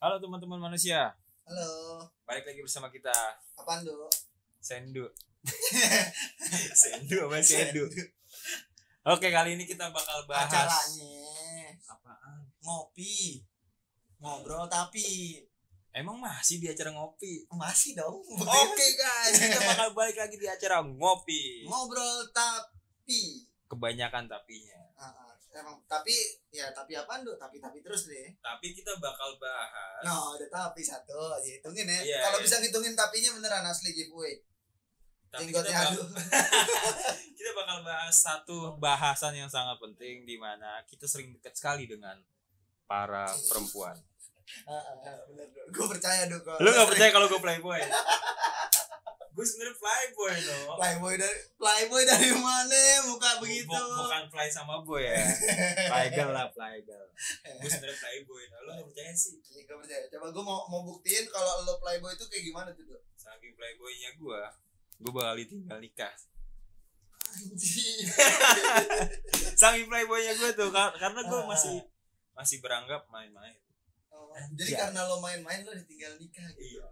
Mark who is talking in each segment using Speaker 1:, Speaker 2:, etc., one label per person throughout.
Speaker 1: Halo teman-teman manusia,
Speaker 2: Halo,
Speaker 1: balik lagi bersama kita
Speaker 2: apaan do?
Speaker 1: Sendu. Sendu apa Sendu? Oke, kali ini kita bakal bahas
Speaker 2: Acaranya
Speaker 1: apaan?
Speaker 2: ngopi, ngobrol tapi
Speaker 1: Emang masih di acara ngopi?
Speaker 2: masih dong.
Speaker 1: Oke guys, kita bakal balik lagi di acara ngopi.
Speaker 2: ngobrol tapi.
Speaker 1: Kebanyakan tapinya.
Speaker 2: Ah, ah, emang tapi ya tapi apaan do? Tapi tapi terus deh.
Speaker 1: Tapi kita bakal bahas.
Speaker 2: No, ada tapi satu aja hitungin ya.
Speaker 1: Iya,
Speaker 2: Kalau
Speaker 1: iya.
Speaker 2: bisa ngitungin tapinya beneran asli giveaway. ya,
Speaker 1: Tapi kita,
Speaker 2: Jenggotnya
Speaker 1: bak-
Speaker 2: aduh.
Speaker 1: kita bakal bahas satu bahasan yang sangat penting di mana kita sering dekat sekali dengan para perempuan.
Speaker 2: Ah, ah, ah, bener do. Gue percaya do. kalau
Speaker 1: Lu gak
Speaker 2: sering-
Speaker 1: percaya kalau gue playboy? gue sebenernya playboy loh.
Speaker 2: Playboy dari Playboy dari mana muka
Speaker 1: Bu-
Speaker 2: begitu?
Speaker 1: bu- bukan play sama boy ya. Playgirl lah, playgirl. Gue sebenernya playboy. Nah, lo gak percaya sih?
Speaker 2: Iya, gue percaya. Coba gue mau mau buktiin kalau lo playboy itu kayak gimana tuh, Dok?
Speaker 1: Saking playboynya gue, gue bakal ditinggal nikah.
Speaker 2: Anjing.
Speaker 1: Saking playboynya gue tuh, kar- karena gue masih masih beranggap main-main.
Speaker 2: Oh, jadi
Speaker 1: Anjay.
Speaker 2: karena lo main-main lo ditinggal nikah gitu.
Speaker 1: Iya.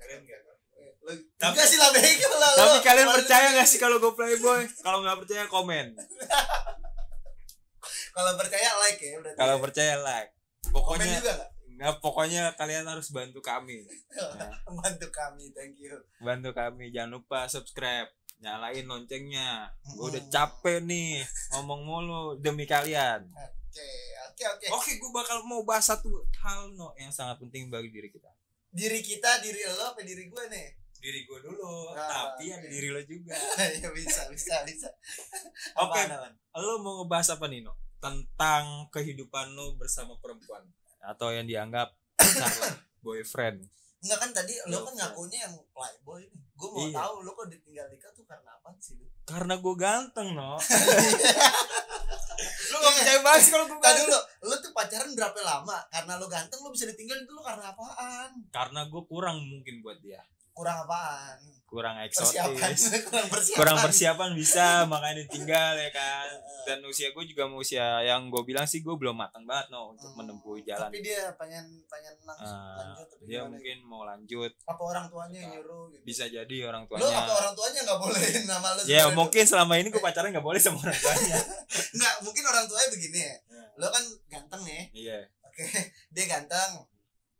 Speaker 1: Keren gak?
Speaker 2: Eh, Lo,
Speaker 1: Tapi-
Speaker 2: enggak sih lah bego lah lo.
Speaker 1: Tapi kalian
Speaker 2: Baru-
Speaker 1: percaya gak sih kalau gue playboy? Kalau nggak percaya komen.
Speaker 2: Kalau percaya like ya berarti.
Speaker 1: Kalau
Speaker 2: ya.
Speaker 1: percaya like.
Speaker 2: komen
Speaker 1: Pokoknya,
Speaker 2: juga enggak?
Speaker 1: nah, pokoknya kalian harus bantu kami. Nah.
Speaker 2: Bantu kami, thank you.
Speaker 1: bantu kami jangan lupa subscribe nyalain loncengnya gue udah
Speaker 2: Mm.
Speaker 1: capek nih ngomong mulu demi kalian
Speaker 2: Oke, oke, oke.
Speaker 1: oke gue bakal mau bahas satu hal no yang sangat penting bagi diri kita
Speaker 2: Diri kita, diri lo apa diri gue nih?
Speaker 1: diri gue dulu
Speaker 2: Ah,
Speaker 1: tapi
Speaker 2: oke.
Speaker 1: ada diri lo juga
Speaker 2: ya bisa, bisa, bisa.
Speaker 1: Oke.
Speaker 2: Apaan, apaan?
Speaker 1: lo mau ngebahas apa nih no tentang kehidupan lo bersama perempuan atau yang dianggap pacar, boyfriend
Speaker 2: Enggak kan tadi lo
Speaker 1: Girlfriend.
Speaker 2: kan ngakunya yang playboy nih. Gue mau
Speaker 1: Iya.
Speaker 2: tahu lo kok ditinggal nikah tuh karena apa sih? Lu?
Speaker 1: karena gue ganteng no
Speaker 2: Iya.
Speaker 1: lo gak
Speaker 2: Eh,
Speaker 1: percaya banget sih kalau gue
Speaker 2: Tadi
Speaker 1: ganteng
Speaker 2: lo, lo tuh pacaran berapa lama? Karena lo ganteng lo bisa ditinggal itu lo karena apaan?
Speaker 1: karena gue kurang mungkin buat dia
Speaker 2: Kurang apaan?
Speaker 1: kurang
Speaker 2: Persiapan,
Speaker 1: eksotis
Speaker 2: kurang persiapan.
Speaker 1: kurang persiapan bisa makanya ditinggal ya kan dan usia gue juga mau usia yang gue bilang sih gue belum matang banget no untuk
Speaker 2: Hmm,
Speaker 1: menempuh jalan
Speaker 2: Tapi dia pengen pengen langsung
Speaker 1: Eh,
Speaker 2: lanjut tapi
Speaker 1: dia
Speaker 2: gimana?
Speaker 1: mungkin mau lanjut
Speaker 2: Apa orang tuanya yang
Speaker 1: Nah,
Speaker 2: nyuruh gitu?
Speaker 1: bisa jadi orang
Speaker 2: Lo apa
Speaker 1: tuanya
Speaker 2: orang tuanya nggak bolehin nama lo?
Speaker 1: ya
Speaker 2: sebenarnya?
Speaker 1: mungkin selama ini gue pacaran nggak boleh sama orang tuanya
Speaker 2: Nggak, mungkin orang tuanya begini ya.
Speaker 1: Iya.
Speaker 2: Lo kan ganteng nih,
Speaker 1: iya
Speaker 2: oke? Dia ganteng.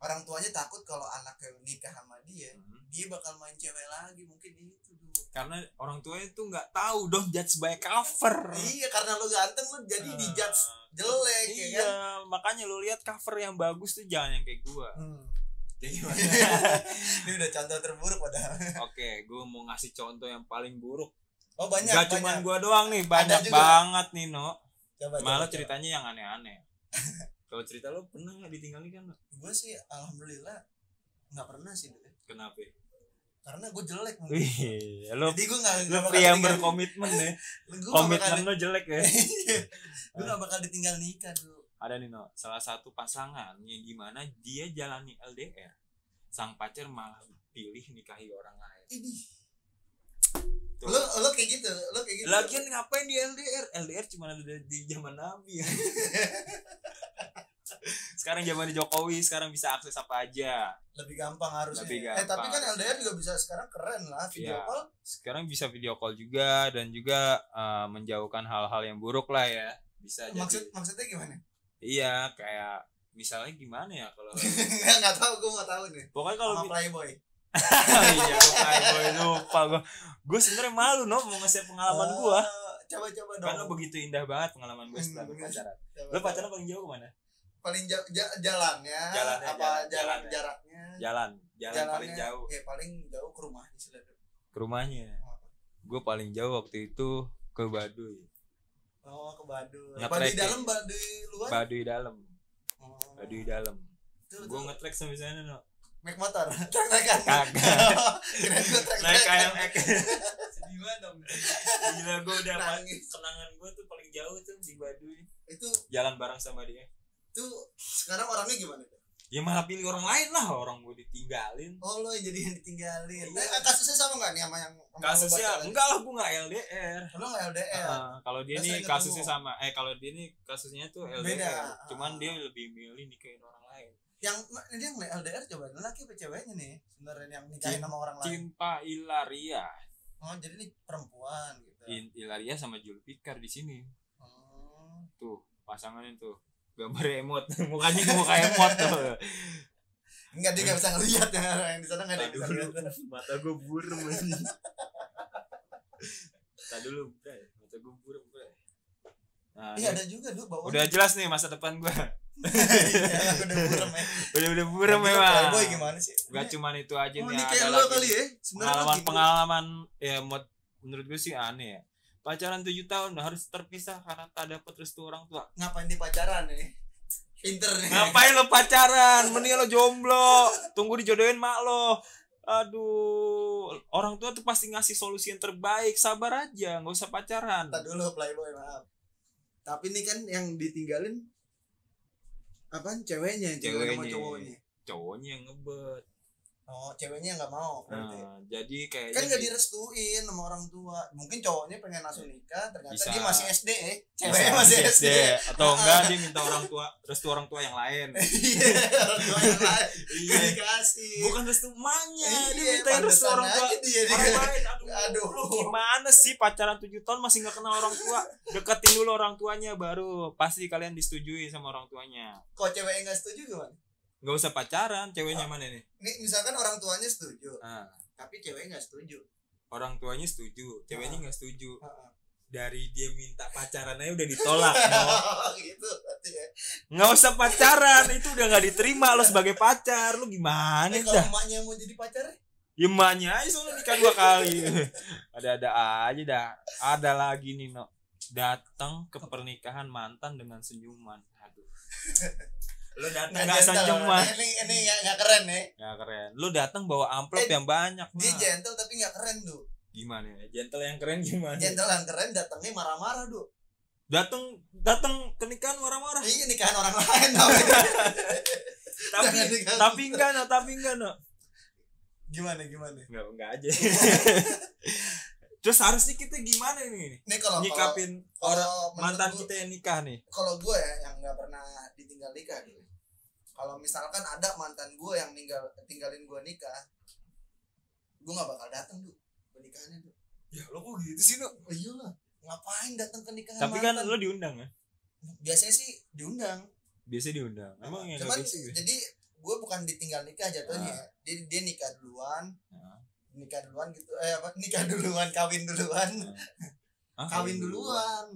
Speaker 2: Orang tuanya takut kalau anaknya nikah sama dia,
Speaker 1: Hmm.
Speaker 2: dia bakal main cewek lagi mungkin itu dulu.
Speaker 1: karena orang tuanya tuh nggak tahu dong judge by cover
Speaker 2: Iya, karena lo ganteng lo jadi
Speaker 1: Eh,
Speaker 2: dijudge jelek ya
Speaker 1: iya
Speaker 2: kan?
Speaker 1: makanya lu lihat cover yang bagus tuh jangan yang kayak gue
Speaker 2: Hmm.
Speaker 1: kayak gimana
Speaker 2: ini udah contoh terburuk padahal.
Speaker 1: oke gue mau ngasih contoh yang paling buruk
Speaker 2: Oh banyak.
Speaker 1: Gak
Speaker 2: banyak.
Speaker 1: cuman gue doang nih banyak
Speaker 2: juga.
Speaker 1: banget nih no
Speaker 2: Coba, coba,
Speaker 1: malah
Speaker 2: coba.
Speaker 1: ceritanya yang aneh-aneh kalau cerita lo pernah nggak kan, ditinggal nikah lo
Speaker 2: gue sih alhamdulillah nggak pernah sih dulu
Speaker 1: kenapa
Speaker 2: Iya. karena gue jelek mungkin.
Speaker 1: wih lo
Speaker 2: jadi gue nggak
Speaker 1: lo Iya. pria yang berkomitmen ya komitmen lo jelek ya
Speaker 2: gue nggak bakal ditinggal nikah dulu
Speaker 1: ada nih no salah satu pasangan yang gimana dia jalani LDR sang pacar malah pilih nikahi orang lain
Speaker 2: ini
Speaker 1: Tuh.
Speaker 2: lo lo kayak gitu lo kayak gitu
Speaker 1: Lagian ngapain di LDR? LDR cuma ada di zaman Nabi ya. sekarang zaman Jokowi, sekarang bisa akses apa aja.
Speaker 2: lebih gampang harusnya
Speaker 1: Lebih
Speaker 2: eh tapi
Speaker 1: gampang.
Speaker 2: kan LDR juga bisa sekarang keren lah video
Speaker 1: Iya.
Speaker 2: call
Speaker 1: sekarang bisa video call juga dan juga eh, menjauhkan hal-hal yang buruk lah ya bisa jadi
Speaker 2: maksud maksudnya gimana
Speaker 1: iya kayak misalnya gimana ya kalau
Speaker 2: nggak nggak tahu gue mau tahu nih
Speaker 1: pokoknya kalau
Speaker 2: sama
Speaker 1: bi-
Speaker 2: playboy
Speaker 1: iya gua playboy lupa gue gue sebenarnya malu no mau ngasih pengalaman gue
Speaker 2: Eh, coba coba dong
Speaker 1: karena Kan begitu indah banget pengalaman gue setelah
Speaker 2: Hmm,
Speaker 1: berpacaran
Speaker 2: Coba,
Speaker 1: lo
Speaker 2: coba.
Speaker 1: pacaran paling jauh kemana
Speaker 2: paling ja- ja- jalannya,
Speaker 1: Jalannya,
Speaker 2: apa
Speaker 1: jalan-
Speaker 2: jalan,
Speaker 1: jalannya.
Speaker 2: jaraknya
Speaker 1: jalan jalan
Speaker 2: Jalannya,
Speaker 1: paling jauh
Speaker 2: ya paling jauh ke rumahnya sih lah.
Speaker 1: ke rumahnya gue paling jauh waktu itu ke Baduy
Speaker 2: Oh, ke Baduy.
Speaker 1: Ngetrek
Speaker 2: Baduy
Speaker 1: ya?
Speaker 2: dalam, Baduy luar.
Speaker 1: Baduy dalam
Speaker 2: Oh.
Speaker 1: Baduy dalam
Speaker 2: Tuh,
Speaker 1: gue
Speaker 2: tuh,
Speaker 1: ngetrek sampai sana no
Speaker 2: naik motor. Trek-trekan.
Speaker 1: kagak
Speaker 2: Kirain gua trek-trekan.
Speaker 1: naik KMX
Speaker 2: Sedih banget dong.
Speaker 1: gila gue udah
Speaker 2: Nangis.
Speaker 1: kenangan gue tuh paling jauh tuh di Baduy
Speaker 2: Itu
Speaker 1: jalan bareng sama dia
Speaker 2: tuh sekarang orangnya gimana?
Speaker 1: ya malah pilih orang lain lah orang gue ditinggalin
Speaker 2: Oh, lo yang jadi yang ditinggalin.
Speaker 1: Iya.
Speaker 2: Nah, kasusnya sama enggak nih sama yang sama
Speaker 1: kasusnya Uh-uh.
Speaker 2: lo
Speaker 1: enggak lah gue nggak LDR
Speaker 2: pacaran? Lo nggak LDR.
Speaker 1: Heeh, kalau dia
Speaker 2: Nggak
Speaker 1: nih
Speaker 2: sering
Speaker 1: kasusnya
Speaker 2: ketemu.
Speaker 1: sama eh kalau dia nih kasusnya tuh LDR
Speaker 2: Beda,
Speaker 1: cuman
Speaker 2: ah.
Speaker 1: dia lebih milih nikahin orang lain
Speaker 2: yang ini yang LDR coba laki apa ceweknya nih sebenarnya yang nikahin sama orang lain
Speaker 1: Cinta Ilaria.
Speaker 2: oh jadi ini perempuan gitu
Speaker 1: In- Ilaria sama Julfikar di sini.
Speaker 2: Hmm.
Speaker 1: Tuh, pasangannya tuh. Gambar emot, mukanya ke muka emot tuh.
Speaker 2: enggak dia nggak bisa ngelihat ya orang yang di sana nggak ada yang bisa
Speaker 1: Tadi
Speaker 2: ngelihat
Speaker 1: dulu, mata gue buram anjing. Tadi dulu, bray. Mata gue buram, bray. Nah,
Speaker 2: iya
Speaker 1: ini
Speaker 2: ada juga lu bawa
Speaker 1: udah jelas nih masa depan gue.
Speaker 2: Iya, udah buram ya
Speaker 1: Udah udah buram
Speaker 2: Lagi lu
Speaker 1: memang.
Speaker 2: playboy gimana sih
Speaker 1: Gak cuman itu aja
Speaker 2: Ini-
Speaker 1: nih.
Speaker 2: ini kayak
Speaker 1: Ada
Speaker 2: lu
Speaker 1: lagi
Speaker 2: kali ya sebenarnya lu
Speaker 1: pengalaman
Speaker 2: gimana?
Speaker 1: pengalaman ya buat menurut gue sih aneh ya. Pacaran 7 tahun harus terpisah karena tak dapat restu orang tua.
Speaker 2: ngapain di pacaran nih pinter nih
Speaker 1: Ngapain lo pacaran? Mending lo jomblo. Tunggu dijodohin mak lo. Aduh, orang tua tuh pasti ngasih solusi yang terbaik. Sabar aja, nggak usah pacaran.
Speaker 2: Ntar dulu playboy maaf tapi ini kan yang ditinggalin apaan ceweknya ceweknya sama
Speaker 1: Ceweknya.
Speaker 2: cowoknya
Speaker 1: Cowoknya yang ngebet.
Speaker 2: oh ceweknya nggak mau berarti
Speaker 1: Nah, jadi kayaknya
Speaker 2: kan nggak direstuin sama orang tua mungkin cowoknya pengen langsung nikah ternyata
Speaker 1: Bisa.
Speaker 2: dia masih SD eh
Speaker 1: Bisa
Speaker 2: ceweknya masih SD
Speaker 1: atau enggak dia minta orang tua restu orang tua yang lain.
Speaker 2: Iya, orang tua yang lain nggak
Speaker 1: Iya.
Speaker 2: dikasih
Speaker 1: Bukan restu emaknya, dia minta
Speaker 2: Iya,
Speaker 1: restu
Speaker 2: pantesan
Speaker 1: orang tua.
Speaker 2: aja dia
Speaker 1: Orang
Speaker 2: dia-
Speaker 1: lain, aduh,
Speaker 2: Aduh.
Speaker 1: lu gimana sih pacaran 7 tahun masih nggak kenal orang tua? Deketin dulu orang tuanya baru pasti kalian disetujui sama orang tuanya.
Speaker 2: kok ceweknya nggak setuju gimana
Speaker 1: Nggak usah pacaran, ceweknya mana nih?
Speaker 2: ini misalkan orang tuanya setuju
Speaker 1: Ah,
Speaker 2: tapi ceweknya nggak setuju
Speaker 1: orang tuanya setuju, ceweknya nggak setuju.
Speaker 2: Heeh.
Speaker 1: Dari dia minta pacaran aja udah ditolak. Mo.
Speaker 2: gitu berarti ya
Speaker 1: nggak usah pacaran itu udah nggak diterima lo sebagai pacar lo gimana
Speaker 2: Eh,
Speaker 1: dah
Speaker 2: kalau emaknya mau jadi pacar
Speaker 1: ya emaknya aja soalnya nikah dua kali ada ada aja dah ada lagi nih no datang ke pernikahan mantan dengan senyuman aduh lo datang nggak
Speaker 2: gentle.
Speaker 1: senyuman
Speaker 2: Nah, ini ini nggak nggak keren ya
Speaker 1: ya keren lo datang bawa amplop
Speaker 2: Eh,
Speaker 1: yang banyak
Speaker 2: dia
Speaker 1: Ma.
Speaker 2: gentle tapi nggak keren tuh
Speaker 1: gimana ya gentle yang keren gimana
Speaker 2: gentle yang keren datangnya marah-marah tuh
Speaker 1: datang datang ke nikahan marah-marah
Speaker 2: iya nikahan orang lain tapi
Speaker 1: tapi
Speaker 2: Jangan diganggu.
Speaker 1: tapi enggak no tapi enggak no
Speaker 2: gimana gimana
Speaker 1: enggak enggak aja terus harusnya kita gimana nih
Speaker 2: ini kalau kalau
Speaker 1: nyikapin orang
Speaker 2: kalau menurut
Speaker 1: mantan
Speaker 2: gua-
Speaker 1: kita yang nikah nih
Speaker 2: kalau gue ya yang nggak pernah ditinggal nikah gitu kalau misalkan ada mantan gue yang ninggal tinggalin gue nikah gue nggak bakal datang tuh ke nikahannya tuh
Speaker 1: ya lo kok gitu sih lo
Speaker 2: oh, iyalah ngapain datang ke nikahan
Speaker 1: tapi kan
Speaker 2: mantan
Speaker 1: lo diundang ya
Speaker 2: biasanya sih diundang
Speaker 1: biasanya diundang emang yang
Speaker 2: cuman
Speaker 1: gak biasa gitu?
Speaker 2: jadi gue bukan ditinggal nikah jatuhnya ya. dia dia nikah duluan
Speaker 1: Ah.
Speaker 2: nikah duluan gitu eh apa nikah duluan kawin duluan
Speaker 1: Hah,
Speaker 2: kawin duluan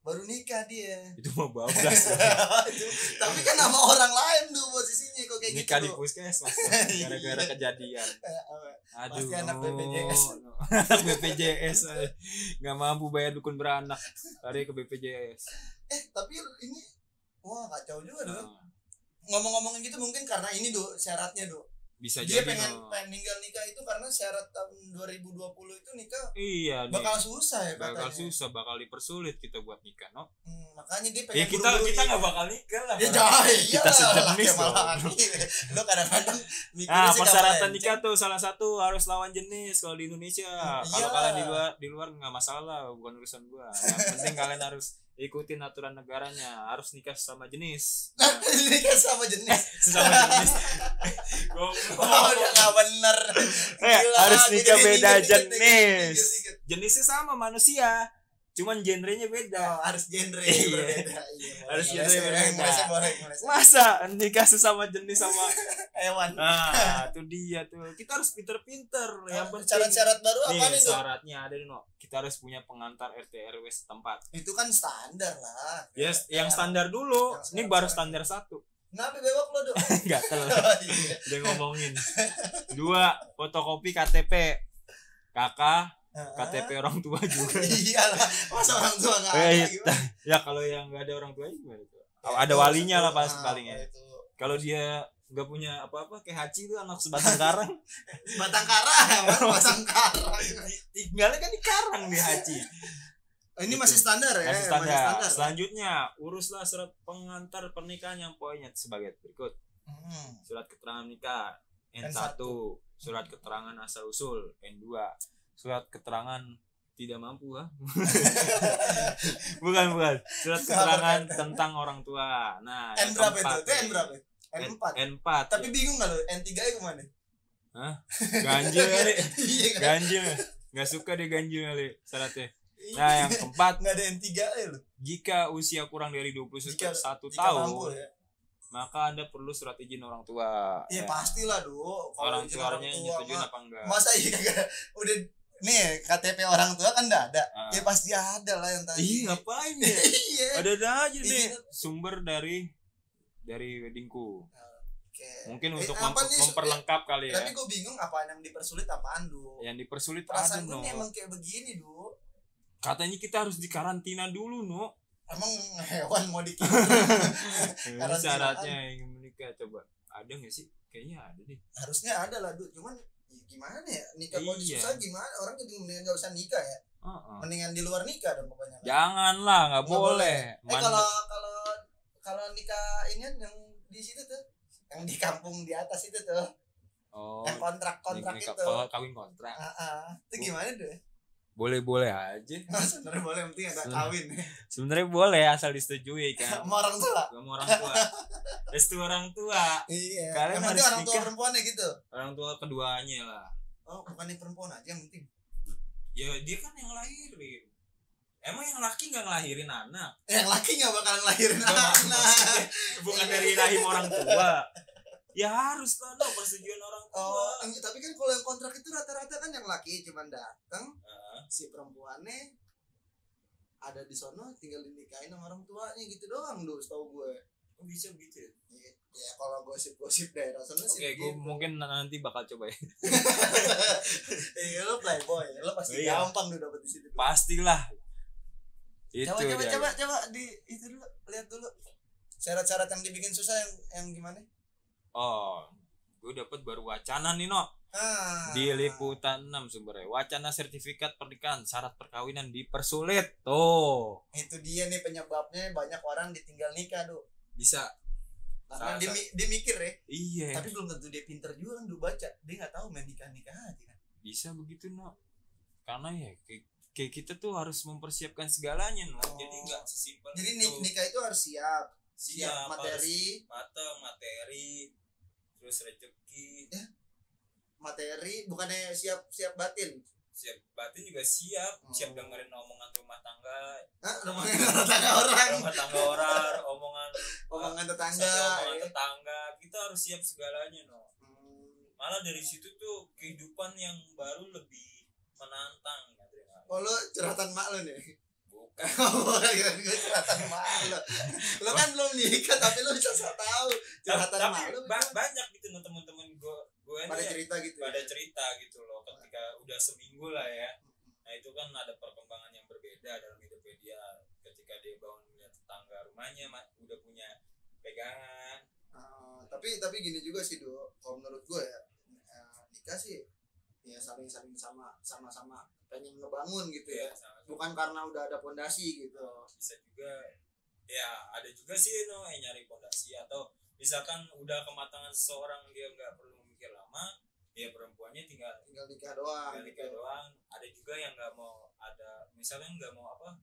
Speaker 2: baru nikah dia
Speaker 1: itu mau ya? bablas lo.
Speaker 2: tapi kan sama orang lain tuh posisinya kok kayak
Speaker 1: nikah
Speaker 2: gitu
Speaker 1: di
Speaker 2: tuh.
Speaker 1: puskesmas lo, gara-gara kejadian
Speaker 2: Eh,
Speaker 1: aduh
Speaker 2: Pasti anak BPJS.
Speaker 1: no. anak BPJS eh. nggak mampu bayar dukun beranak lari ke BPJS
Speaker 2: eh tapi ini wah kacau juga dulu
Speaker 1: Nah,
Speaker 2: ngomong-ngomongin gitu mungkin karena ini do syaratnya do
Speaker 1: bisa
Speaker 2: dia
Speaker 1: jadi
Speaker 2: pengen
Speaker 1: no.
Speaker 2: pengen ninggal nikah itu karena syarat tahun 2020 itu nikah
Speaker 1: iya nih
Speaker 2: bakal susah ya
Speaker 1: bakal
Speaker 2: katanya.
Speaker 1: susah bakal dipersulit kita buat nikah no
Speaker 2: Hmm, makanya dia pengen
Speaker 1: ya kita
Speaker 2: buru-buru
Speaker 1: kita
Speaker 2: nikah.
Speaker 1: nggak bakal nikah lah
Speaker 2: ya
Speaker 1: Bang.
Speaker 2: jangan
Speaker 1: Kita
Speaker 2: iyalah,
Speaker 1: sejenis
Speaker 2: laki sama
Speaker 1: dong.
Speaker 2: laki. lo kadang-kadang mikirnya
Speaker 1: Nah,
Speaker 2: sih nggak
Speaker 1: persyaratan
Speaker 2: melenceng.
Speaker 1: nikah tuh salah satu harus lawan jenis kalau di Indonesia.
Speaker 2: Hmm,
Speaker 1: Kalau
Speaker 2: iya.
Speaker 1: kalian di luar di luar nggak masalah, bukan urusan gua. Yang penting kalian harus ikutin aturan negaranya, harus nikah sesama jenis.
Speaker 2: Nah.
Speaker 1: Ya,
Speaker 2: nikah sama jenis
Speaker 1: sesama jenis. Goblok.
Speaker 2: oh udah nggak bener
Speaker 1: Eh,
Speaker 2: Gila,
Speaker 1: harus
Speaker 2: dikit,
Speaker 1: nikah
Speaker 2: dikit,
Speaker 1: beda
Speaker 2: dikit, dikit,
Speaker 1: jenis.
Speaker 2: dikit, dikit.
Speaker 1: Jenisnya sama manusia, cuman genrenya beda.
Speaker 2: Oh, harus genre
Speaker 1: Iya.
Speaker 2: berbeda. Iya, boleh.
Speaker 1: Harus
Speaker 2: Boleh,
Speaker 1: genre
Speaker 2: boleh,
Speaker 1: berbeda.
Speaker 2: boleh, boleh, boleh. Eh,
Speaker 1: Masa nikah sesama jenis sama
Speaker 2: Hewan.
Speaker 1: Nah, itu dia tuh. Kita harus pinter-pinter
Speaker 2: Ah,
Speaker 1: yang penting.
Speaker 2: Syarat-syarat baru apa
Speaker 1: Nih,
Speaker 2: nih, Dok?
Speaker 1: syaratnya ada nih, no. Kita harus punya pengantar RT RW setempat.
Speaker 2: Itu kan standar lah. Iya.
Speaker 1: Yes, yang standar dulu.
Speaker 2: Yang
Speaker 1: Ini
Speaker 2: standar.
Speaker 1: baru standar satu.
Speaker 2: Kenapa bewok lo, Dok?
Speaker 1: Enggak telat.
Speaker 2: Oh, iya.
Speaker 1: Dia ngomongin. Dua, fotokopi KTP. Kakak, KTP orang tua juga.
Speaker 2: Iyalah, masa orang tua enggak ada
Speaker 1: Eh,
Speaker 2: gimana?
Speaker 1: ya kalau yang nggak ada orang tua gimana tuh? Ada walinya lah pas
Speaker 2: Ah,
Speaker 1: paling ya.
Speaker 2: itu.
Speaker 1: Kalau dia nggak punya apa-apa kayak Haji itu anak sebatang karang.
Speaker 2: Batang karang, mana pasang karang.
Speaker 1: Tinggalnya kan di karang dia Haji.
Speaker 2: Oh, ini
Speaker 1: Gitu.
Speaker 2: masih standar ya,
Speaker 1: Masih standar.
Speaker 2: standar.
Speaker 1: Selanjutnya, uruslah surat pengantar pernikahan yang poinnya sebagai berikut.
Speaker 2: Hmm.
Speaker 1: Surat keterangan nikah N1, surat keterangan asal usul N2, surat keterangan tidak mampu ah. bukan bukan. Surat keterangan tentang orang tua. Nah,
Speaker 2: N
Speaker 1: yang
Speaker 2: berapa itu?
Speaker 1: keempat
Speaker 2: Itu N
Speaker 1: nih.
Speaker 2: berapa?
Speaker 1: N-
Speaker 2: N4
Speaker 1: N4
Speaker 2: tapi bingung nggak lo N3 nya kemana
Speaker 1: ganjil kali
Speaker 2: Iya kan?
Speaker 1: ganjil nggak suka deh ganjil kali syaratnya
Speaker 2: Iya.
Speaker 1: nah yang keempat
Speaker 2: nggak ada N3 nya lo
Speaker 1: jika usia kurang dari 21
Speaker 2: Jika- jika
Speaker 1: tahun
Speaker 2: mampu ya
Speaker 1: maka anda perlu surat izin orang tua Ya,
Speaker 2: Iya pastilah do
Speaker 1: orang
Speaker 2: izin orang
Speaker 1: tuanya
Speaker 2: tua
Speaker 1: nyetujuin
Speaker 2: mah.
Speaker 1: apa enggak
Speaker 2: masa iya kagak udah nih KTP orang tua kan nggak ada
Speaker 1: Ah.
Speaker 2: ya pasti ada lah yang tadi
Speaker 1: Ih, ngapain ya?
Speaker 2: iya
Speaker 1: Ada ada aja nih
Speaker 2: Iya.
Speaker 1: sumber dari dari weddingku.
Speaker 2: Oke.
Speaker 1: Mungkin
Speaker 2: Eh,
Speaker 1: untuk
Speaker 2: apa
Speaker 1: mem-
Speaker 2: nih, Su?
Speaker 1: memperlengkap kali ya.
Speaker 2: tapi gue bingung apaan yang dipersulit apaan do
Speaker 1: Yang dipersulit ada
Speaker 2: perasaan gue
Speaker 1: no.
Speaker 2: nih emang kayak begini do
Speaker 1: Katanya kita harus dikarantina dulu no.
Speaker 2: emang hewan mau dikirim
Speaker 1: Ini
Speaker 2: Karantinaan.
Speaker 1: Eh, syaratnya yang ingin menikah coba. Ada nggak sih? Kayaknya ada deh.
Speaker 2: harusnya ada lah du cuman ya gimana ya nikah kalau
Speaker 1: Iya. Nah.
Speaker 2: susah gimana orang jadi mendingan gak usah nikah ya
Speaker 1: Heeh.
Speaker 2: mendingan di luar nikah dong pokoknya kan?
Speaker 1: Janganlah, nggak
Speaker 2: Nggak
Speaker 1: boleh.
Speaker 2: eh
Speaker 1: Man-
Speaker 2: kalau kalau kalau nikah ini kan yang di situ tuh yang di kampung di atas itu tuh
Speaker 1: oh,
Speaker 2: yang kontrak eh, kontrak
Speaker 1: nikah-
Speaker 2: itu
Speaker 1: kalau kawin kontrak.
Speaker 2: Ah, ah. itu gimana tuh
Speaker 1: Boleh-boleh aja.
Speaker 2: sebenarnya boleh penting ada
Speaker 1: Sebenarnya.
Speaker 2: kawin
Speaker 1: Sebenarnya boleh asal disetujui kan.
Speaker 2: sama orang tua
Speaker 1: Sama orang tua. Restu orang tua,
Speaker 2: iya
Speaker 1: Kalian
Speaker 2: yang penting
Speaker 1: harus
Speaker 2: orang tua
Speaker 1: nikah.
Speaker 2: perempuannya gitu
Speaker 1: orang tua keduanya lah.
Speaker 2: oh bukan yang perempuan aja yang penting
Speaker 1: ya dia kan yang ngelahirin emang yang laki nggak ngelahirin anak
Speaker 2: Eh, yang laki nggak bakal ngelahirin
Speaker 1: Nggak bakal.
Speaker 2: anak
Speaker 1: bukan dari rahim orang tua ya harus lah dong persetujuan orang tua
Speaker 2: Oh, enggak, tapi kan kalau yang kontrak itu rata-rata kan yang laki cuman datang,
Speaker 1: Heeh.
Speaker 2: si perempuannya ada di sono tinggal dinikahin sama orang tuanya gitu doang dulu setahu gue.
Speaker 1: Kok bisa gitu ya
Speaker 2: Ya, ya kalau gosip-gosip daerah sono
Speaker 1: oke gue
Speaker 2: sih. begitu.
Speaker 1: mungkin nanti bakal coba ya
Speaker 2: Iya, lo playboy, lo pasti
Speaker 1: Oh, iya.
Speaker 2: gampang udah dapet di situ.
Speaker 1: pastilah itu
Speaker 2: coba coba
Speaker 1: dia.
Speaker 2: coba coba di itu dulu, lihat dulu. Syarat-syarat yang dibikin susah yang yang gimana?
Speaker 1: oh gue dapat baru wacana nih no
Speaker 2: Ah.
Speaker 1: di liputan 6 sumbernya wacana sertifikat pernikahan syarat perkawinan dipersulit tuh
Speaker 2: Itu dia nih penyebabnya banyak orang ditinggal nikah, Duh.
Speaker 1: bisa
Speaker 2: Karena
Speaker 1: Salah-
Speaker 2: dia, mi- dia mikir ya,
Speaker 1: iya
Speaker 2: tapi belum tentu dia pinter juga kan lu baca dia nggak tahu main nikah nikah aja kan
Speaker 1: bisa begitu no karena ya kayak, kayak kita tuh harus mempersiapkan segalanya no
Speaker 2: Oh.
Speaker 1: jadi nggak sesimpel
Speaker 2: jadi
Speaker 1: itu.
Speaker 2: nik- nikah itu harus siap
Speaker 1: Siap,
Speaker 2: siap,
Speaker 1: harus
Speaker 2: materi
Speaker 1: mateng materi terus rezeki
Speaker 2: materi bukannya siap siap batin
Speaker 1: siap batin juga siap
Speaker 2: Oh.
Speaker 1: siap dengerin omongan rumah tangga
Speaker 2: Hah? omongan tetangga orang
Speaker 1: rumah tangga orang omongan
Speaker 2: omongan
Speaker 1: satu
Speaker 2: tetangga
Speaker 1: omongan
Speaker 2: ya.
Speaker 1: tetangga kita harus siap segalanya no
Speaker 2: Hmm.
Speaker 1: malah dari situ tuh kehidupan yang baru lebih menantang Adriana.
Speaker 2: Oh lo curhatan mak lo nih Oh,
Speaker 1: bukan
Speaker 2: Kira-kira Gue curhatan mak lo Lo kan belum nikah tapi lo bisa so tau
Speaker 1: tapi,
Speaker 2: Curhatan mak
Speaker 1: tapi
Speaker 2: lo
Speaker 1: ba- banyak gitu no teman-teman gue gue
Speaker 2: Pada cerita gitu
Speaker 1: Iya.
Speaker 2: ya.
Speaker 1: pada cerita gitu loh ketika udah seminggu lah ya nah itu kan ada perkembangan yang berbeda dalam hidupnya dia ketika dia bangun melihat tetangga rumahnya ma- udah punya pegangan
Speaker 2: Ah, tapi tapi gini juga sih do kalau menurut gue ya eh, nikah sih ya saling-saling sama sama-sama pengen ngebangun gitu ya
Speaker 1: sama
Speaker 2: bukan karena udah ada pondasi gitu
Speaker 1: bisa juga ya ada juga sih no yang nyari fondasi atau misalkan udah kematangan seseorang dia nggak perlu mikir lama ya perempuannya tinggal
Speaker 2: tinggal nikah doang
Speaker 1: Nggak nikah
Speaker 2: gitu.
Speaker 1: doang ada juga yang nggak mau ada misalnya nggak mau apa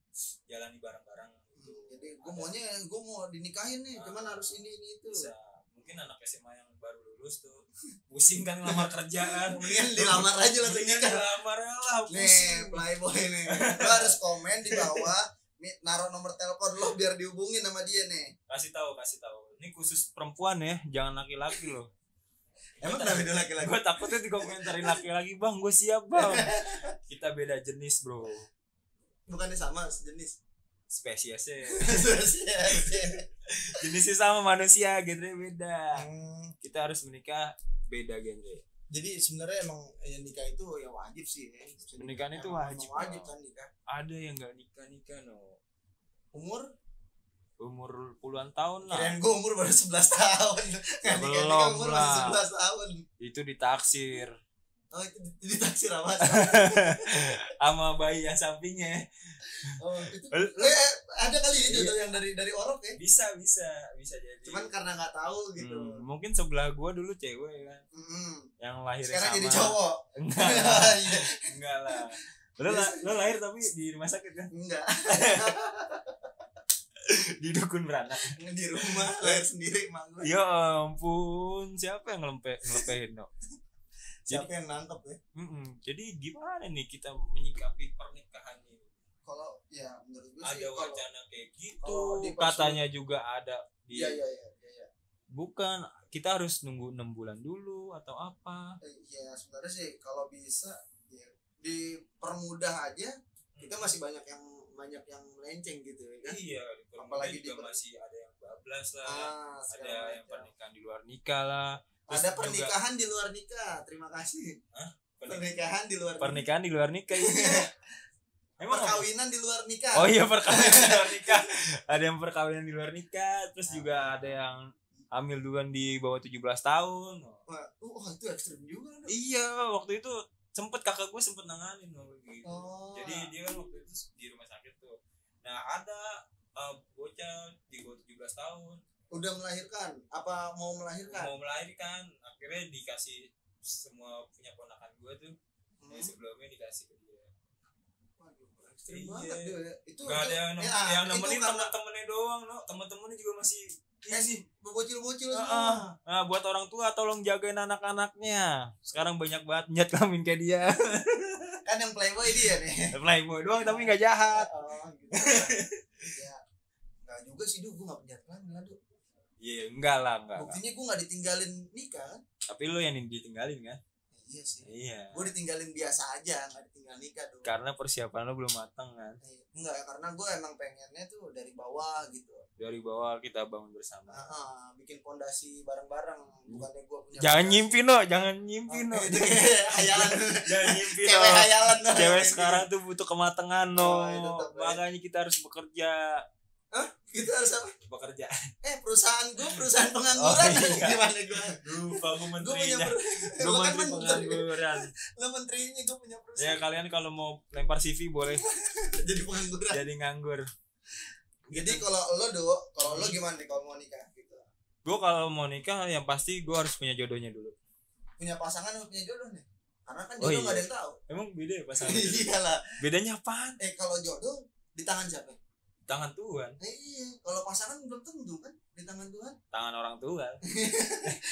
Speaker 1: jalani bareng-bareng gitu
Speaker 2: Hmm, jadi gue
Speaker 1: Ada
Speaker 2: maunya gue mau dinikahin nih
Speaker 1: Ah.
Speaker 2: cuman harus ini ini itu
Speaker 1: bisa mungkin anak SMA yang baru lulus tuh pusing kan ngelamar kerjaan
Speaker 2: mendingan dilamar aja langsung
Speaker 1: Mendingan
Speaker 2: nikah
Speaker 1: dilamar lah
Speaker 2: kan nih
Speaker 1: pusing
Speaker 2: playboy nih lo harus komen di bawah mi- naruh nomor telepon lo biar dihubungin sama dia nih
Speaker 1: kasih tahu kasih tahu ini khusus perempuan ya jangan laki-laki loh
Speaker 2: emang kenapa dia laki-laki
Speaker 1: gue takutnya dikomentarin laki-laki bang gue siap bang kita beda jenis bro
Speaker 2: bukannya sama sejenis
Speaker 1: spesiesnya
Speaker 2: Spesies.
Speaker 1: jenisnya sama manusia genre beda
Speaker 2: Hmm.
Speaker 1: kita harus menikah beda genre
Speaker 2: jadi sebenarnya emang ya nikah itu ya wajib sih ya. Bisa
Speaker 1: Pernikahan
Speaker 2: nikah.
Speaker 1: itu
Speaker 2: Emang-
Speaker 1: wajib,
Speaker 2: emang wajib
Speaker 1: Bang.
Speaker 2: kan nikah
Speaker 1: ada yang nggak nikah nikah no
Speaker 2: umur
Speaker 1: umur puluhan tahun lah
Speaker 2: kirain gue umur baru 11 tahun Nggak nikah-nikah umur
Speaker 1: Belum
Speaker 2: baru
Speaker 1: lah.
Speaker 2: 11 tahun
Speaker 1: itu ditaksir
Speaker 2: oh itu di- ditaksir apa
Speaker 1: sama bayi yang sampingnya
Speaker 2: oh itu
Speaker 1: Lu-
Speaker 2: eh, eh, ada kali itu
Speaker 1: Iya.
Speaker 2: tuh yang dari dari orok ya
Speaker 1: bisa bisa bisa jadi
Speaker 2: cuman karena nggak tahu gitu
Speaker 1: Hmm, mungkin sebelah gua dulu cewek kan
Speaker 2: Mm-mm.
Speaker 1: yang lahir
Speaker 2: sekarang
Speaker 1: sama
Speaker 2: jadi cowok
Speaker 1: enggak lah
Speaker 2: Iya.
Speaker 1: enggak lah lo, la- lo lahir tapi di rumah sakit kan
Speaker 2: enggak
Speaker 1: di dukun beranak
Speaker 2: di rumah
Speaker 1: Iya.
Speaker 2: lahir sendiri emang gue
Speaker 1: ya ampun siapa yang ngelempe ngelepehin dok
Speaker 2: siapa yang nangkep ya
Speaker 1: Mm-mm. jadi gimana nih kita menyikapi pernikahan ini
Speaker 2: kalau ya menurut gue
Speaker 1: ada
Speaker 2: sih kalau
Speaker 1: wacana kayak
Speaker 2: kalau
Speaker 1: gitu
Speaker 2: dipersulit-
Speaker 1: katanya juga ada di
Speaker 2: iya iya iya iya iya.
Speaker 1: bukan kita harus nunggu enam bulan dulu atau apa
Speaker 2: Eh, ya sebenarnya sih kalau bisa ya, dipermudah aja kita
Speaker 1: Hmm.
Speaker 2: masih banyak yang banyak yang melenceng gitu ya kan
Speaker 1: iya
Speaker 2: Apalagi
Speaker 1: apalagi juga
Speaker 2: diper-
Speaker 1: masih ada yang bablas lah
Speaker 2: ah, segala
Speaker 1: Iya, ada yang
Speaker 2: macam.
Speaker 1: pernikahan di luar nikah lah Terus
Speaker 2: ada
Speaker 1: juga
Speaker 2: pernikahan di luar nikah terima kasih
Speaker 1: Hah?
Speaker 2: pernikahan di luar nikah
Speaker 1: pernikahan di luar nikah iya. emang apa?
Speaker 2: perkawinan di luar nikah
Speaker 1: oh iya perkawinan di luar nikah ada yang perkawinan di luar nikah
Speaker 2: Nah.
Speaker 1: terus juga ada yang hamil duluan di bawah 17 tahun
Speaker 2: Wah, oh, itu ekstrim juga dong.
Speaker 1: iya waktu itu sempet kakak gue sempet nanganin waktu gitu
Speaker 2: oh.
Speaker 1: jadi dia kan waktu itu di rumah sakit tuh nah ada eh, bocah di bawah 17 tahun
Speaker 2: udah melahirkan apa mau melahirkan
Speaker 1: mau melahirkan akhirnya dikasih semua punya ponakan gue tuh
Speaker 2: Hmm.
Speaker 1: yang sebelumnya dikasih ke dia
Speaker 2: Waduh, ekstrim banget
Speaker 1: Iya.
Speaker 2: dia ya. itu
Speaker 1: Gak ada yang,
Speaker 2: ya,
Speaker 1: yang
Speaker 2: itu
Speaker 1: nemenin
Speaker 2: karena-
Speaker 1: temen-temennya doang, no. temen-temennya juga masih
Speaker 2: eh sih bocil-bocil
Speaker 1: Ah,
Speaker 2: semua
Speaker 1: Nah, buat orang tua tolong jagain anak-anaknya. Sekarang banyak banget nyet kelamin kayak dia.
Speaker 2: kan yang playboy dia nih
Speaker 1: Playboy doang tapi nggak jahat.
Speaker 2: Oh, gitu. ya nggak juga sih du gue nggak punya kelamin lah Du.
Speaker 1: Iya, enggak lah, enggak. enggak.
Speaker 2: buktinya gue nggak ditinggalin nikah kan
Speaker 1: Tapi lu yang ditinggalin kan?
Speaker 2: iya sih
Speaker 1: Iya.
Speaker 2: gue ditinggalin biasa aja nggak ditinggal nikah dong
Speaker 1: Karena persiapan lu belum matang kan.
Speaker 2: enggak karena gue emang pengennya tuh dari bawah gitu
Speaker 1: Dari bawah kita bangun bersama.
Speaker 2: Ah, ah, bikin pondasi bareng-bareng bukannya gue punya
Speaker 1: Jangan
Speaker 2: pondasi.
Speaker 1: nyimpi, no. Jangan nyimpi, no.
Speaker 2: Oh, hayalan
Speaker 1: Jangan nyimpi, no.
Speaker 2: cewek hayalan dong.
Speaker 1: Cewek sekarang tuh butuh kematangan, no.
Speaker 2: Oh, itu tetap, ya.
Speaker 1: Makanya kita harus bekerja.
Speaker 2: gitu harus apa
Speaker 1: Bekerja.
Speaker 2: eh perusahaan gue perusahaan
Speaker 1: Oh,
Speaker 2: pengangguran
Speaker 1: iya.
Speaker 2: gimana gue
Speaker 1: Lupa gue
Speaker 2: gue punya
Speaker 1: menterinya.
Speaker 2: perusahaan
Speaker 1: Gue
Speaker 2: lo kan
Speaker 1: menteri
Speaker 2: menteri
Speaker 1: pengangguran.
Speaker 2: lo menterinya gue punya
Speaker 1: Ya
Speaker 2: perusahaan
Speaker 1: kalian kalau mau lempar CV boleh
Speaker 2: jadi pengangguran
Speaker 1: jadi nganggur.
Speaker 2: Jadi kalau lo do, kalau lo gimana nih kalau mau nikah gitu?
Speaker 1: Gue kalau mau nikah yang pasti gue harus punya jodohnya dulu.
Speaker 2: Punya pasangan atau punya jodoh nih? Karena kan
Speaker 1: Oh,
Speaker 2: jodoh
Speaker 1: iya.
Speaker 2: nggak ada yang tahu.
Speaker 1: Emang beda ya pasangan?
Speaker 2: Iyalah.
Speaker 1: Bedanya apaan?
Speaker 2: Eh kalau jodoh di tangan siapa?
Speaker 1: Tangan Tuhan,
Speaker 2: Eh, iya. Kalau pasangan belum tentu kan di tangan Tuhan.
Speaker 1: tangan orang tua.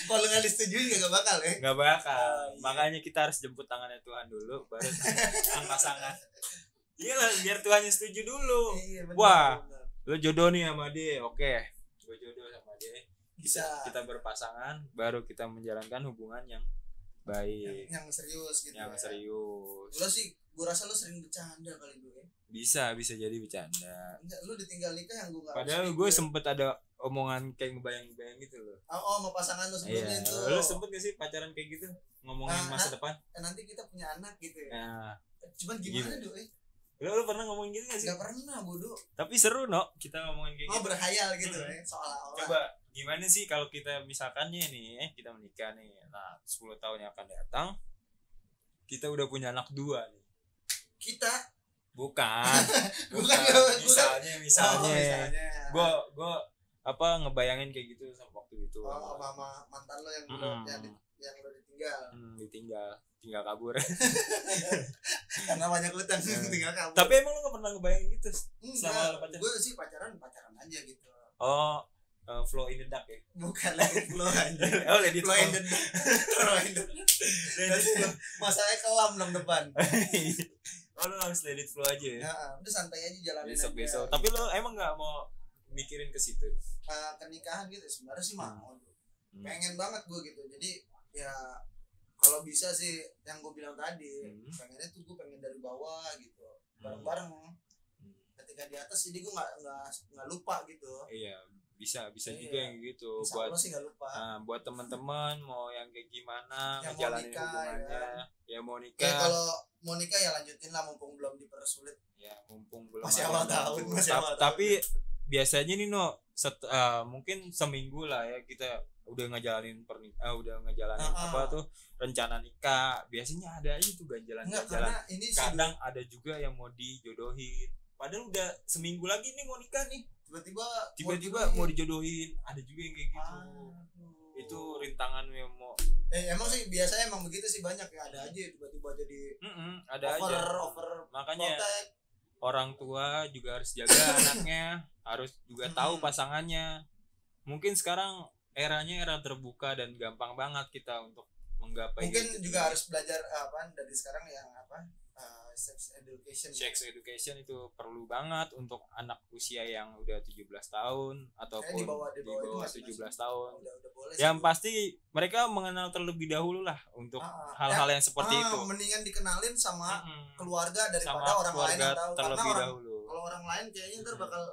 Speaker 2: Kalau nggak disetujui nggak bakal ya.
Speaker 1: Nggak bakal.
Speaker 2: Oh, iya.
Speaker 1: Makanya kita harus jemput tangannya Tuhan dulu baru tangan pasangan. Iyalah biar Tuhannya setuju dulu.
Speaker 2: Iya, benar,
Speaker 1: Wah.
Speaker 2: benar.
Speaker 1: Lo jodoh nih sama dia, oke. Gue jodoh sama dia.
Speaker 2: Bisa.
Speaker 1: Kita berpasangan baru kita menjalankan hubungan yang baik,
Speaker 2: Yang serius gitu.
Speaker 1: yang
Speaker 2: ya.
Speaker 1: serius.
Speaker 2: Lo sih, gua rasa lo sering bercanda kali dulu ya.
Speaker 1: Bisa bisa jadi bercanda.
Speaker 2: Enggak, lo ditinggal nikah yang gua nggak.
Speaker 1: Padahal
Speaker 2: harus
Speaker 1: gue
Speaker 2: gitu.
Speaker 1: sempet ada omongan kayak ngebayang-bayang gitu loh.
Speaker 2: oh, oh, sama pasangan lo sebelumnya
Speaker 1: Iya.
Speaker 2: itu.
Speaker 1: Lu sempet gak sih pacaran kayak gitu? Ngomongin
Speaker 2: Ah,
Speaker 1: masa depan?
Speaker 2: Eh, nanti kita punya anak gitu ya.
Speaker 1: Nah,
Speaker 2: Cuman gimana
Speaker 1: Gimana?
Speaker 2: do? Eh,
Speaker 1: lu, lu pernah ngomongin gitu gak sih?
Speaker 2: nggak pernah bodoh.
Speaker 1: Tapi seru no, kita ngomongin kayak
Speaker 2: Oh
Speaker 1: gitu.
Speaker 2: berhayal gitu
Speaker 1: Hmm.
Speaker 2: ya seolah-olah.
Speaker 1: Coba gimana sih kalau kita misalkannya nih, eh, kita menikah nih. Nah, 10 tahun yang akan datang, kita udah punya anak dua nih.
Speaker 2: Kita oh,
Speaker 1: Bukan.
Speaker 2: Bukan, bukan.
Speaker 1: Misalnya,
Speaker 2: Oh,
Speaker 1: misalnya.
Speaker 2: misalnya.
Speaker 1: Gue, gue apa ngebayangin kayak gitu sama waktu itu.
Speaker 2: Oh, sama, sama mantan lo yang
Speaker 1: Mm-mm.
Speaker 2: yang, di- yang lo ditinggal
Speaker 1: Hmm, ditinggal, tinggal kabur.
Speaker 2: karena banyak utang
Speaker 1: Hmm.
Speaker 2: tinggal kamu.
Speaker 1: Tapi emang lu gak pernah ngebayangin gitu? sama lo pacaran?
Speaker 2: gue sih pacaran pacaran aja gitu.
Speaker 1: Oh, uh, flow in the dark ya?
Speaker 2: Bukan lagi lo aja.
Speaker 1: oh, Lady
Speaker 2: Lo in the lo in the
Speaker 1: Iya.
Speaker 2: masalahnya kelam dong depan.
Speaker 1: oh, lu harus Lady flow aja ya?
Speaker 2: Nah, udah santai aja jalanin aja.
Speaker 1: Besok-besok. Tapi lu emang gak mau mikirin ke situ?
Speaker 2: Eh, ke nikahan gitu sebenarnya sih
Speaker 1: Hmm.
Speaker 2: mau.
Speaker 1: Hmm.
Speaker 2: Pengen banget gue gitu. Jadi ya kalau bisa sih yang gue bilang tadi
Speaker 1: Hmm.
Speaker 2: pengennya tuh gue pengen dari bawah gitu bareng-bareng
Speaker 1: Hmm.
Speaker 2: ketika di atas jadi gue nggak nggak nggak lupa gitu
Speaker 1: Iya, bisa bisa
Speaker 2: Iya.
Speaker 1: juga yang gitu
Speaker 2: Insya
Speaker 1: buat
Speaker 2: Allah sih nggak lupa
Speaker 1: ah, buat teman-teman mau yang kayak gimana
Speaker 2: Yang mau
Speaker 1: ngejalanin
Speaker 2: nikah,
Speaker 1: hubungannya ya mau
Speaker 2: ya
Speaker 1: nikah
Speaker 2: kalau mau nikah ya lanjutin lah mumpung belum dipersulit
Speaker 1: ya mumpung belum
Speaker 2: Masih
Speaker 1: ada
Speaker 2: awal
Speaker 1: yang
Speaker 2: tahun,
Speaker 1: tahu.
Speaker 2: masih
Speaker 1: Ta-
Speaker 2: awal tahun.
Speaker 1: tapi biasanya nih no set- eh, mungkin seminggu lah ya kita udah ngejalanin pernik eh, udah ngejalanin
Speaker 2: Ah, ah.
Speaker 1: apa tuh rencana nikah biasanya ada aja tuh ganjalan
Speaker 2: enggak
Speaker 1: ganjalan
Speaker 2: karena ini sih
Speaker 1: kadang ada juga yang mau dijodohin padahal udah seminggu lagi nih mau nikah nih
Speaker 2: tiba-tiba
Speaker 1: tiba-tiba mau dijodohin ada juga yang kayak
Speaker 2: Ah.
Speaker 1: gitu itu
Speaker 2: itu
Speaker 1: rintangan yang mau
Speaker 2: eh, emang sih biasanya emang begitu sih banyak ya ada aja tiba-tiba jadi
Speaker 1: Mm-mm, ada
Speaker 2: over
Speaker 1: aja
Speaker 2: over
Speaker 1: makanya
Speaker 2: protek
Speaker 1: orang tua juga harus jaga anaknya harus juga tahu
Speaker 2: Mm.
Speaker 1: pasangannya mungkin sekarang eranya era terbuka dan gampang banget kita untuk menggapai gitu.
Speaker 2: mungkin
Speaker 1: gadget
Speaker 2: juga
Speaker 1: ini.
Speaker 2: harus belajar eh, apa dari sekarang yang apa eh, sex education ya.
Speaker 1: sex education itu perlu banget untuk anak usia yang udah 17 tahun ataupun di
Speaker 2: bawah-
Speaker 1: bawah,
Speaker 2: di bawah itu masih-
Speaker 1: 17
Speaker 2: masih-
Speaker 1: tahun Ya,
Speaker 2: udah udah boleh
Speaker 1: yang pasti mereka mengenal terlebih dahulu lah
Speaker 2: Ah,
Speaker 1: untuk hal-hal yang seperti itu
Speaker 2: Eh, mendingan dikenalin sama
Speaker 1: Mm-mm.
Speaker 2: keluarga
Speaker 1: sama
Speaker 2: ah, daripada orang lain
Speaker 1: keluarga
Speaker 2: yang tahu karena
Speaker 1: terlebih
Speaker 2: orang
Speaker 1: dahulu
Speaker 2: kalau orang lain kayaknya ntar
Speaker 1: Hmm.
Speaker 2: bakal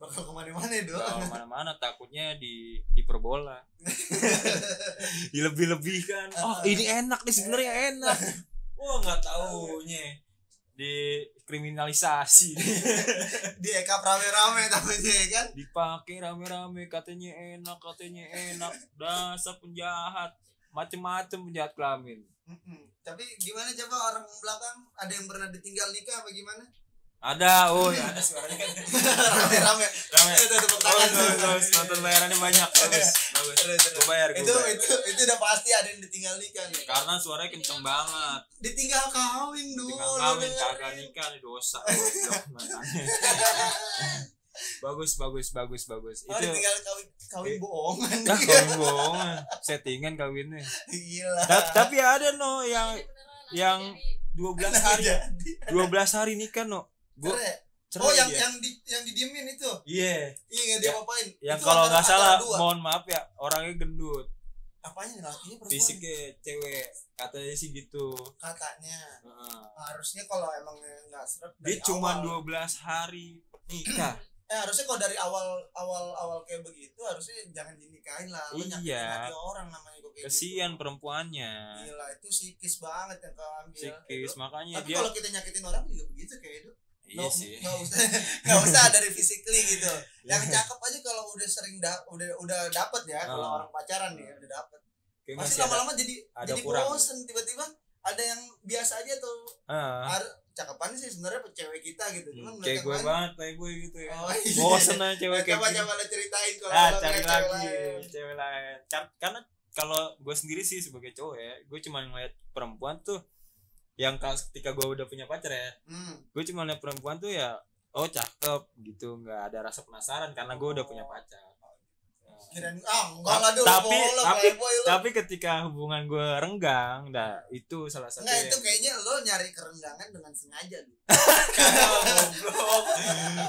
Speaker 2: bakal kemana-mana itu
Speaker 1: kalau mana-mana takutnya di hiperbola dilebih-lebihkan
Speaker 2: Ah,
Speaker 1: oh ini enak nih sebenarnya enak wah nggak taunya di kriminalisasi
Speaker 2: di ekap rame-rame namanya ya kan
Speaker 1: dipakai rame-rame katanya enak katanya enak dasar penjahat macem-macem penjahat kelamin
Speaker 2: Mm-mm. Hmm, tapi gimana coba orang belakang ada yang pernah ditinggal nikah apa gimana
Speaker 1: ada oh ya ada
Speaker 2: rame-rame
Speaker 1: rame
Speaker 2: itu tepuk tangan
Speaker 1: bagus bagus nonton bayarannya banyak bagus bagus gue bayar gue
Speaker 2: itu
Speaker 1: bayar
Speaker 2: itu itu udah pasti ada yang ditinggal nikah nih
Speaker 1: karena suaranya kenceng banget
Speaker 2: ditinggal kawin dulu ya kan?
Speaker 1: tinggal kawin kagak nikah nih dosa Goblok, makanya. bagus bagus bagus bagus
Speaker 2: oh,
Speaker 1: itu
Speaker 2: ditinggal kawin kawin bohongan Iya.
Speaker 1: Nah, kawin bohongan settingan kawinnya
Speaker 2: gila
Speaker 1: Ta- tapi ada no yang
Speaker 3: Ini beneran, langsung
Speaker 1: yang-
Speaker 3: jadi.
Speaker 1: 12
Speaker 2: Nggak
Speaker 1: hari
Speaker 2: jadi.
Speaker 1: 12 hari nikah no gua
Speaker 2: Cerai.
Speaker 1: cerai ya?
Speaker 2: oh yang
Speaker 1: dia.
Speaker 2: yang di yang didiemin itu
Speaker 1: iya
Speaker 2: iya nggak dia apain
Speaker 1: yang
Speaker 2: Itu
Speaker 1: kalau
Speaker 2: antara-
Speaker 1: nggak
Speaker 2: antara
Speaker 1: salah
Speaker 2: dua.
Speaker 1: mohon maaf ya orangnya gendut
Speaker 2: apanya lakinya perempuan
Speaker 1: fisiknya cewek katanya sih gitu
Speaker 2: katanya
Speaker 1: Heeh.
Speaker 2: harusnya kalau emang nggak seret
Speaker 1: dia
Speaker 2: dari
Speaker 1: cuma
Speaker 2: awal.
Speaker 1: 12 hari nikah
Speaker 2: eh harusnya kalau dari awal awal awal kayak begitu harusnya jangan dinikahin lah lu
Speaker 1: Iya.
Speaker 2: nyakitin hati orang namanya kok kayak
Speaker 1: kesian
Speaker 2: gitu.
Speaker 1: perempuannya
Speaker 2: gila itu sikis banget yang keambil
Speaker 1: Kan. psikis
Speaker 2: Itu.
Speaker 1: makanya
Speaker 2: tapi
Speaker 1: dia
Speaker 2: kalau kita nyakitin orang juga begitu kayak itu
Speaker 1: iya sih Iya.
Speaker 2: nggak usah nggak usah dari physically gitu yang cakep aja kalau udah sering da- udah udah dapet ya kalau
Speaker 1: Ah.
Speaker 2: orang pacaran nih
Speaker 1: Ah.
Speaker 2: udah dapet
Speaker 1: Kayak
Speaker 2: pasti
Speaker 1: masih ada-
Speaker 2: lama-lama jadi
Speaker 1: ada
Speaker 2: jadi
Speaker 1: kurang.
Speaker 2: bosen tiba-tiba ada yang biasa aja tuh
Speaker 1: Heeh.
Speaker 2: cakepannya sih sebenarnya cewek kita gitu cuman
Speaker 1: Ah. Hmm, kayak
Speaker 2: mereka
Speaker 1: gue
Speaker 2: kan-
Speaker 1: banget kayak gue gitu ya
Speaker 2: Oh, iya.
Speaker 1: bosen aja cewek
Speaker 2: Nah,
Speaker 1: kayak
Speaker 2: coba
Speaker 1: gini.
Speaker 2: coba lo ceritain kalau
Speaker 1: ah cari
Speaker 2: lo punya cewek
Speaker 1: lagi
Speaker 2: lain.
Speaker 1: cewek lain Kar- karena kalau gue sendiri sih sebagai cowok ya gue cuma ngeliat perempuan tuh yang kas- ketika gue udah punya pacar ya
Speaker 2: Hmm.
Speaker 1: gue cuma ngeliat perempuan tuh ya oh cakep gitu nggak ada rasa penasaran karena gue udah
Speaker 2: Oh.
Speaker 1: punya pacar Nah,
Speaker 2: Kirain ah enggak lah dulu
Speaker 1: Tapi-
Speaker 2: lo
Speaker 1: tapi-
Speaker 2: playboy lo.
Speaker 1: tapi ketika hubungan gue renggang nah itu salah satu
Speaker 2: Enggak itu
Speaker 1: yang-
Speaker 2: kayaknya lo nyari kerenggangan dengan sengaja lo.
Speaker 1: Ah, goblok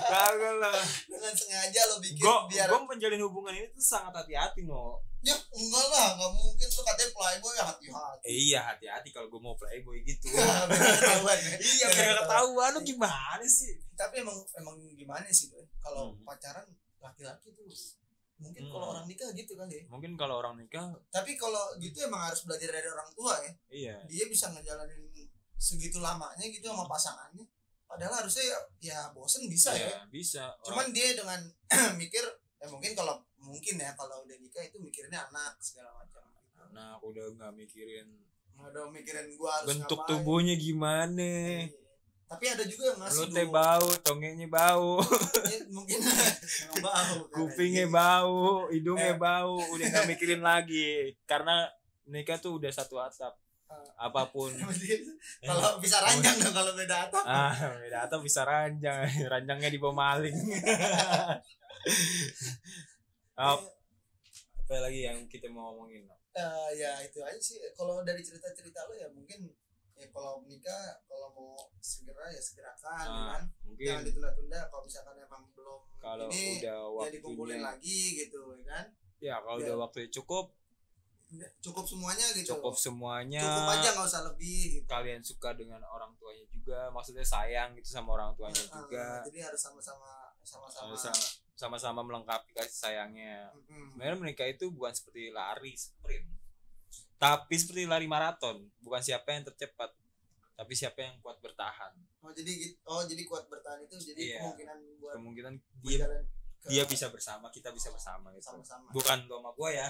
Speaker 1: kagak lah
Speaker 2: Dengan sengaja lo bikin
Speaker 1: gue
Speaker 2: biar
Speaker 1: gue menjalin hubungan ini tuh sangat hati-hati no
Speaker 2: ya enggak lah enggak mungkin lo katanya playboy ya hati-hati.
Speaker 1: Eh, iya hati-hati kalau gue mau playboy gitu
Speaker 2: Iya, Biar nggak ketahuan, ya.
Speaker 1: iya
Speaker 2: Biar
Speaker 1: biar
Speaker 2: nggak
Speaker 1: ketahuan lu gimana sih
Speaker 2: Tapi emang emang gimana sih Boy? Kalau
Speaker 1: Hmm.
Speaker 2: pacaran laki-laki tuh mungkin
Speaker 1: Hmm.
Speaker 2: kalau orang nikah gitu kali ya.
Speaker 1: mungkin kalau orang nikah
Speaker 2: Tapi kalau gitu emang harus belajar dari orang tua ya.
Speaker 1: iya
Speaker 2: dia bisa ngejalanin segitu lamanya gitu sama pasangannya padahal harusnya ya, ya bosen bisa ya
Speaker 1: Iya, bisa
Speaker 2: cuman dia dengan mikir ya mungkin kalau mungkin ya kalau udah nikah itu mikirnya anak segala macam
Speaker 1: nah udah nggak mikirin
Speaker 2: nggak ada mikirin gua harus
Speaker 1: bentuk
Speaker 2: ngapain.
Speaker 1: tubuhnya gimana
Speaker 2: Iya. tapi ada juga yang masih
Speaker 1: lu teh
Speaker 2: dulu.
Speaker 1: bau tongenya bau
Speaker 2: Ya, mungkin emang bau kan.
Speaker 1: kupingnya
Speaker 2: Iya.
Speaker 1: bau hidungnya
Speaker 2: Eh.
Speaker 1: bau udah nggak mikirin lagi karena nikah tuh udah satu atap
Speaker 2: Ah.
Speaker 1: apapun
Speaker 2: kalau bisa ranjang dong kalau beda atap
Speaker 1: ah beda atap bisa ranjang ranjangnya dibawa maling Ah, apa lagi yang kita mau ngomongin
Speaker 2: Eh, ya itu aja sih kalau dari cerita cerita lo ya mungkin ya kalau nikah kalau mau segera ya segerakan ya
Speaker 1: Ah,
Speaker 2: kan jangan
Speaker 1: mungkin
Speaker 2: ditunda-tunda kalau misalkan emang belum
Speaker 1: kalau
Speaker 2: ini
Speaker 1: udah
Speaker 2: ya
Speaker 1: waktunya
Speaker 2: dikumpulin lagi gitu ya kan
Speaker 1: ya kalau
Speaker 2: Ya.
Speaker 1: udah waktunya cukup
Speaker 2: cukup semuanya gitu
Speaker 1: cukup semuanya
Speaker 2: Cukup aja nggak usah lebih gitu.
Speaker 1: kalian suka dengan orang tuanya juga maksudnya sayang gitu sama orang tuanya
Speaker 2: Nah,
Speaker 1: juga
Speaker 2: jadi harus sama-sama sama-sama
Speaker 1: Sama- sama-sama melengkapi kasih sayangnya
Speaker 2: Mm-mm.
Speaker 1: sebenarnya menikah itu bukan seperti lari sprint tapi seperti lari maraton bukan siapa yang tercepat tapi siapa yang kuat bertahan
Speaker 2: oh jadi gitu oh jadi kuat bertahan itu jadi
Speaker 1: Iya.
Speaker 2: kemungkinan buat
Speaker 1: kemungkinan dia
Speaker 2: berjalan ke-
Speaker 1: dia bisa bersama kita bisa bersama gitu
Speaker 2: sama-sama
Speaker 1: bukan lo sama gue ya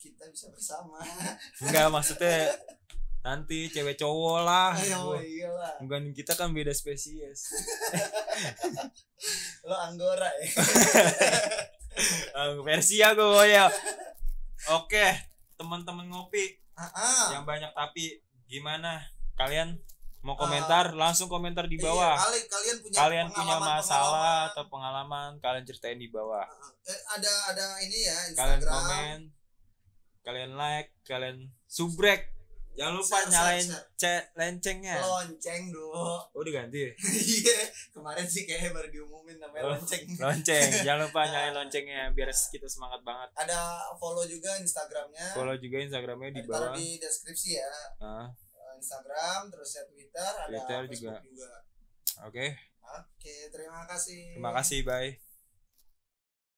Speaker 2: kita bisa bersama
Speaker 1: enggak maksudnya nanti cewek cowok lah
Speaker 2: ayo
Speaker 1: Ah, Gua-
Speaker 2: iya lah
Speaker 1: Bukan kita kan beda spesies.
Speaker 2: lo anggora ya
Speaker 1: Eh, Persia gue ya. Oke, teman-teman ngopi
Speaker 2: ah, ah.
Speaker 1: yang banyak tapi gimana? Kalian mau komentar langsung komentar di bawah
Speaker 2: Iya, kali- kalian punya
Speaker 1: kalian punya
Speaker 2: pengalaman-
Speaker 1: masalah
Speaker 2: pengalaman.
Speaker 1: atau pengalaman kalian ceritain di bawah
Speaker 2: Eh, ada ada ini ya
Speaker 1: kalian
Speaker 2: Instagram.
Speaker 1: komen kalian like kalian subrek jangan lupa
Speaker 2: Share,
Speaker 1: nyalain ya.
Speaker 2: share,
Speaker 1: ce- lencengnya
Speaker 2: Lonceng dulu.
Speaker 1: oh diganti ya?
Speaker 2: Iya, kemarin sih kayaknya baru diumumin namanya
Speaker 1: Oh.
Speaker 2: lonceng.
Speaker 1: lonceng jangan lupa nyalain loncengnya biar kita semangat banget
Speaker 2: Ada follow juga Instagramnya.
Speaker 1: follow juga instagramnya di
Speaker 2: Nanti taruh
Speaker 1: bawah
Speaker 2: di deskripsi ya
Speaker 1: Ah,
Speaker 2: Eh, Instagram, terus ya Twitter, ada
Speaker 1: Twitter
Speaker 2: Facebook juga.
Speaker 1: oke
Speaker 2: Oke, terima kasih.
Speaker 1: terima kasih bye